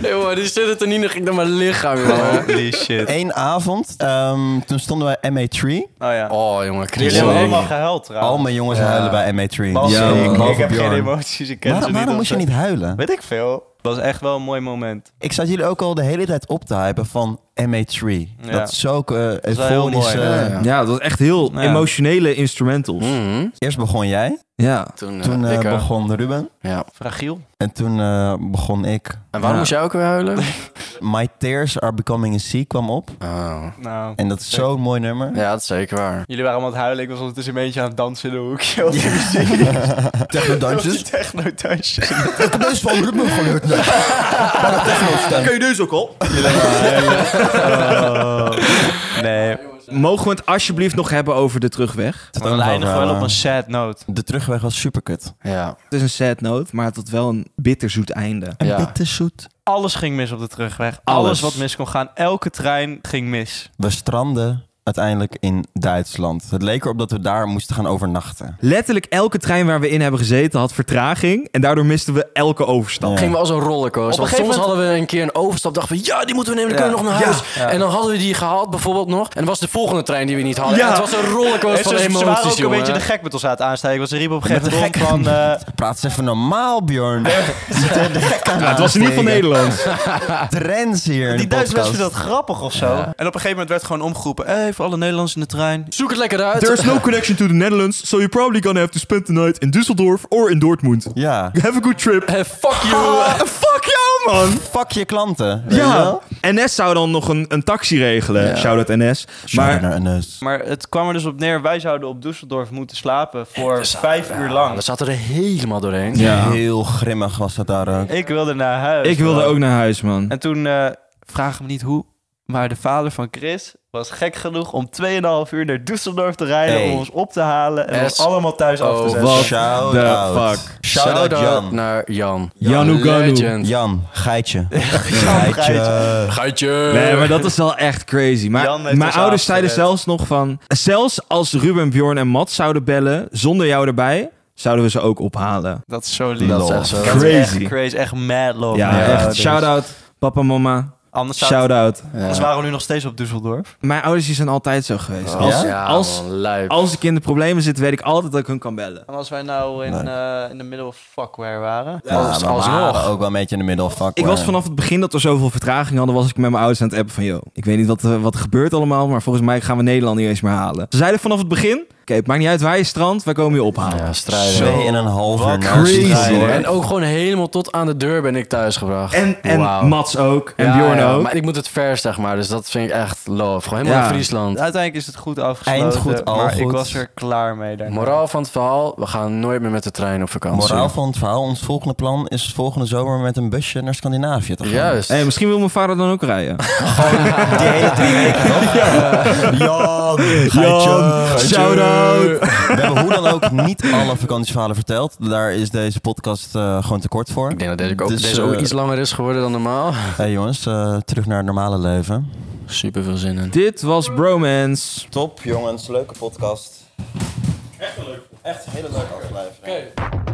Jongen, die serotonine ging naar mijn lichaam, jongen.
Holy shit.
Eén avond, ehm, toen stonden we MA3.
Oh ja.
Oh, jongen, Chris.
Jullie hebben
Sorry.
allemaal gehuild trouwens.
Al mijn jongens huilen bij MA3.
Bas,
Ja,
ik-
man.
ik,
Behalve
heb geen
Bjorn.
emoties. Ik ken ze
Waarom, waarom
of
moest je
zo.
niet huilen?
Weet ik veel. Het was echt wel een mooi moment.
Ik zat jullie ook al de hele tijd op te hypen van MA3.
Ja.
Dat is ook eh
is wel heel
euforische...
mooi, hè?
Ja, Hm. dat was echt heel
Ja.
emotionele instrumentals.
Mhm.
Eerst begon jij,
Ja.
Toen, eh,
toen eh,
ik ook.
begon Ruben
Ja.
Fragiel.
en toen eh, begon ik.
En waarom
Ja.
moest jij ook weer huilen?
My Tears Are Becoming a Sea kwam op.
Oh.
Nou.
En dat is zo'n mooi nummer.
Ja, dat is zeker waar.
Jullie waren allemaal aan het huilen. Ik was ondertussen een beetje aan het dansen in de hoekje. Op
Technodansjes.
die techno-dansje.
Ik heb deze van Ruben gehoord.
Kun je dus ook al?
Nee.
Mogen we het alsjeblieft nog hebben over de terugweg?
Dan eindigen we wel op een sad note.
eh, De terugweg was superkut.
Ja.
Het is een sad note, maar het had wel een bitterzoet einde.
En
Ja.
bitterzoet.
Alles ging mis op de terugweg. Alles,
Alles.
wat mis kon gaan. Elke trein ging mis.
We stranden uiteindelijk in Duitsland. Het leek erop dat we daar moesten gaan overnachten.
Letterlijk elke trein waar we in hebben gezeten had vertraging. En daardoor misten we elke overstap.
Ja.
Gingen we als een rollercoaster.
Op een
Want
gegeven
soms
moment-
hadden we een keer een overstap. Dachten we, ja, die moeten we nemen. Dan kunnen we nog naar huis. En dan hadden we die gehaald bijvoorbeeld nog. En dan was de volgende trein die we niet hadden.
Ja.
En het was een rollercoaster van
dus- ze, ze waren ook
emoties,
een
jongen.
beetje de gek met ons aan het aanstijgen. Want ze riepen op een
Met
gegeven
de
moment van... eh,
Praat eens even normaal, Bjorn. Zit er de gek aan
Ja, Nou, het was in ieder geval Nederland.
Trends hier. in
die
de
Duitsers
podcast.
vinden dat grappig of zo. En op een gegeven moment werd gewoon omgeroepen. Hé, voor alle Nederlanders in de trein.
Zoek het lekker uit.
There's no connection to the Netherlands, so you're probably gonna have to spend the night in Düsseldorf or in Dortmund.
Ja.
Have a good trip.
Eh, fuck
Ah.
you.
fuck jou, man!
Fuck je klanten. weet je
Oh. Ja,
wel?
NS zou dan nog een, een taxi regelen. Shout-out NS.
Maar,
Maar
naar NS.
Maar het kwam er dus op neer. Wij zouden op Düsseldorf moeten slapen voor vijf uur
Ja,
lang.
we zaten er helemaal doorheen.
Ja.
Heel grimmig was dat daar ook.
Ik wilde naar huis.
ik wilde
man.
ook naar huis, man.
En toen eh vragen me niet hoe, maar de vader van Chris was gek genoeg om 2,5 uur naar Düsseldorf te rijden
Hey.
om ons op te halen en ons
S-
allemaal thuis af te
Oh,
zetten.
What
Shout
the
out.
fuck?
Shout out Jan.
naar Jan.
Janu Ganu.
Legend.
Jan, geitje.
Geitje.
Geitje.
Nee, maar dat is wel echt crazy. Maar
Jan heeft
mijn
ons
ouders zeiden
afgered.
zelfs nog van... Zelfs als Ruben, Bjorn en Matt zouden bellen zonder jou erbij... zouden we ze ook ophalen.
Dat is zo lief.
Lol.
Dat is echt zo.
Dat is echt
Crazy.
crazy, echt mad love.
Ja,
Ja,
echt.
dus-
Shout-out papa, mama.
Anders, zou-
Shout-out.
anders waren we nu nog steeds op Düsseldorf.
Mijn ouders die zijn altijd zo geweest.
Oh.
Als,
Ja?
Ja,
als,
man, lijp.
als ik in de problemen zit, weet ik altijd dat ik hun kan bellen.
En als wij nou in, eh, in de middle of fuckware waren.
Ja,
Als-
we
alsnog.
waren ook wel een beetje in de middel. Fuck eh,
Ik was vanaf het begin dat we zoveel vertraging hadden, was ik met mijn ouders aan het appen van... ...joh, ik weet niet wat, eh, wat er gebeurt allemaal, maar volgens mij gaan we Nederland niet eens meer halen. Ze zeiden vanaf het begin, oké, het maakt niet uit waar je strand, wij komen je ophalen.
Ja, strijden.
Twee en een half uur
Wat
naast
crazy,
die trein.
hoor.
En ook gewoon helemaal tot aan de deur ben ik thuisgebracht.
En, en
Wauw.
Mats ook, en
Ja,
Bjorn ook.
ja, Maar ik moet het vers, zeg maar. Dus dat vind ik echt love. Gewoon helemaal
Ja.
in Friesland.
Uiteindelijk is het goed afgesloten.
Eind goed, al
maar ik
goed.
was er klaar mee. daarna.
Moraal van het verhaal, we gaan nooit meer met de trein op vakantie.
Moraal van het verhaal, ons volgende plan is volgende zomer met een busje naar Scandinavië te gaan.
Juist.
Hey, Eh, misschien wil mijn vader dan ook rijden.
Die hele drie weken nog. Jan, geitje.
Jan,
geitje.
shout-out. dood.
We hebben hoe dan ook niet alle vakantieverhalen verteld. Daar is deze podcast eh, gewoon te kort voor.
Ik denk dat deze ook,
Dus,
deze ook
eh,
iets langer is geworden dan normaal.
Hey jongens, eh, terug naar het normale leven.
Super veel zin in.
Dit was Bromance.
Top jongens, leuke podcast. Echt een leuke Echt een hele leuke aflevering.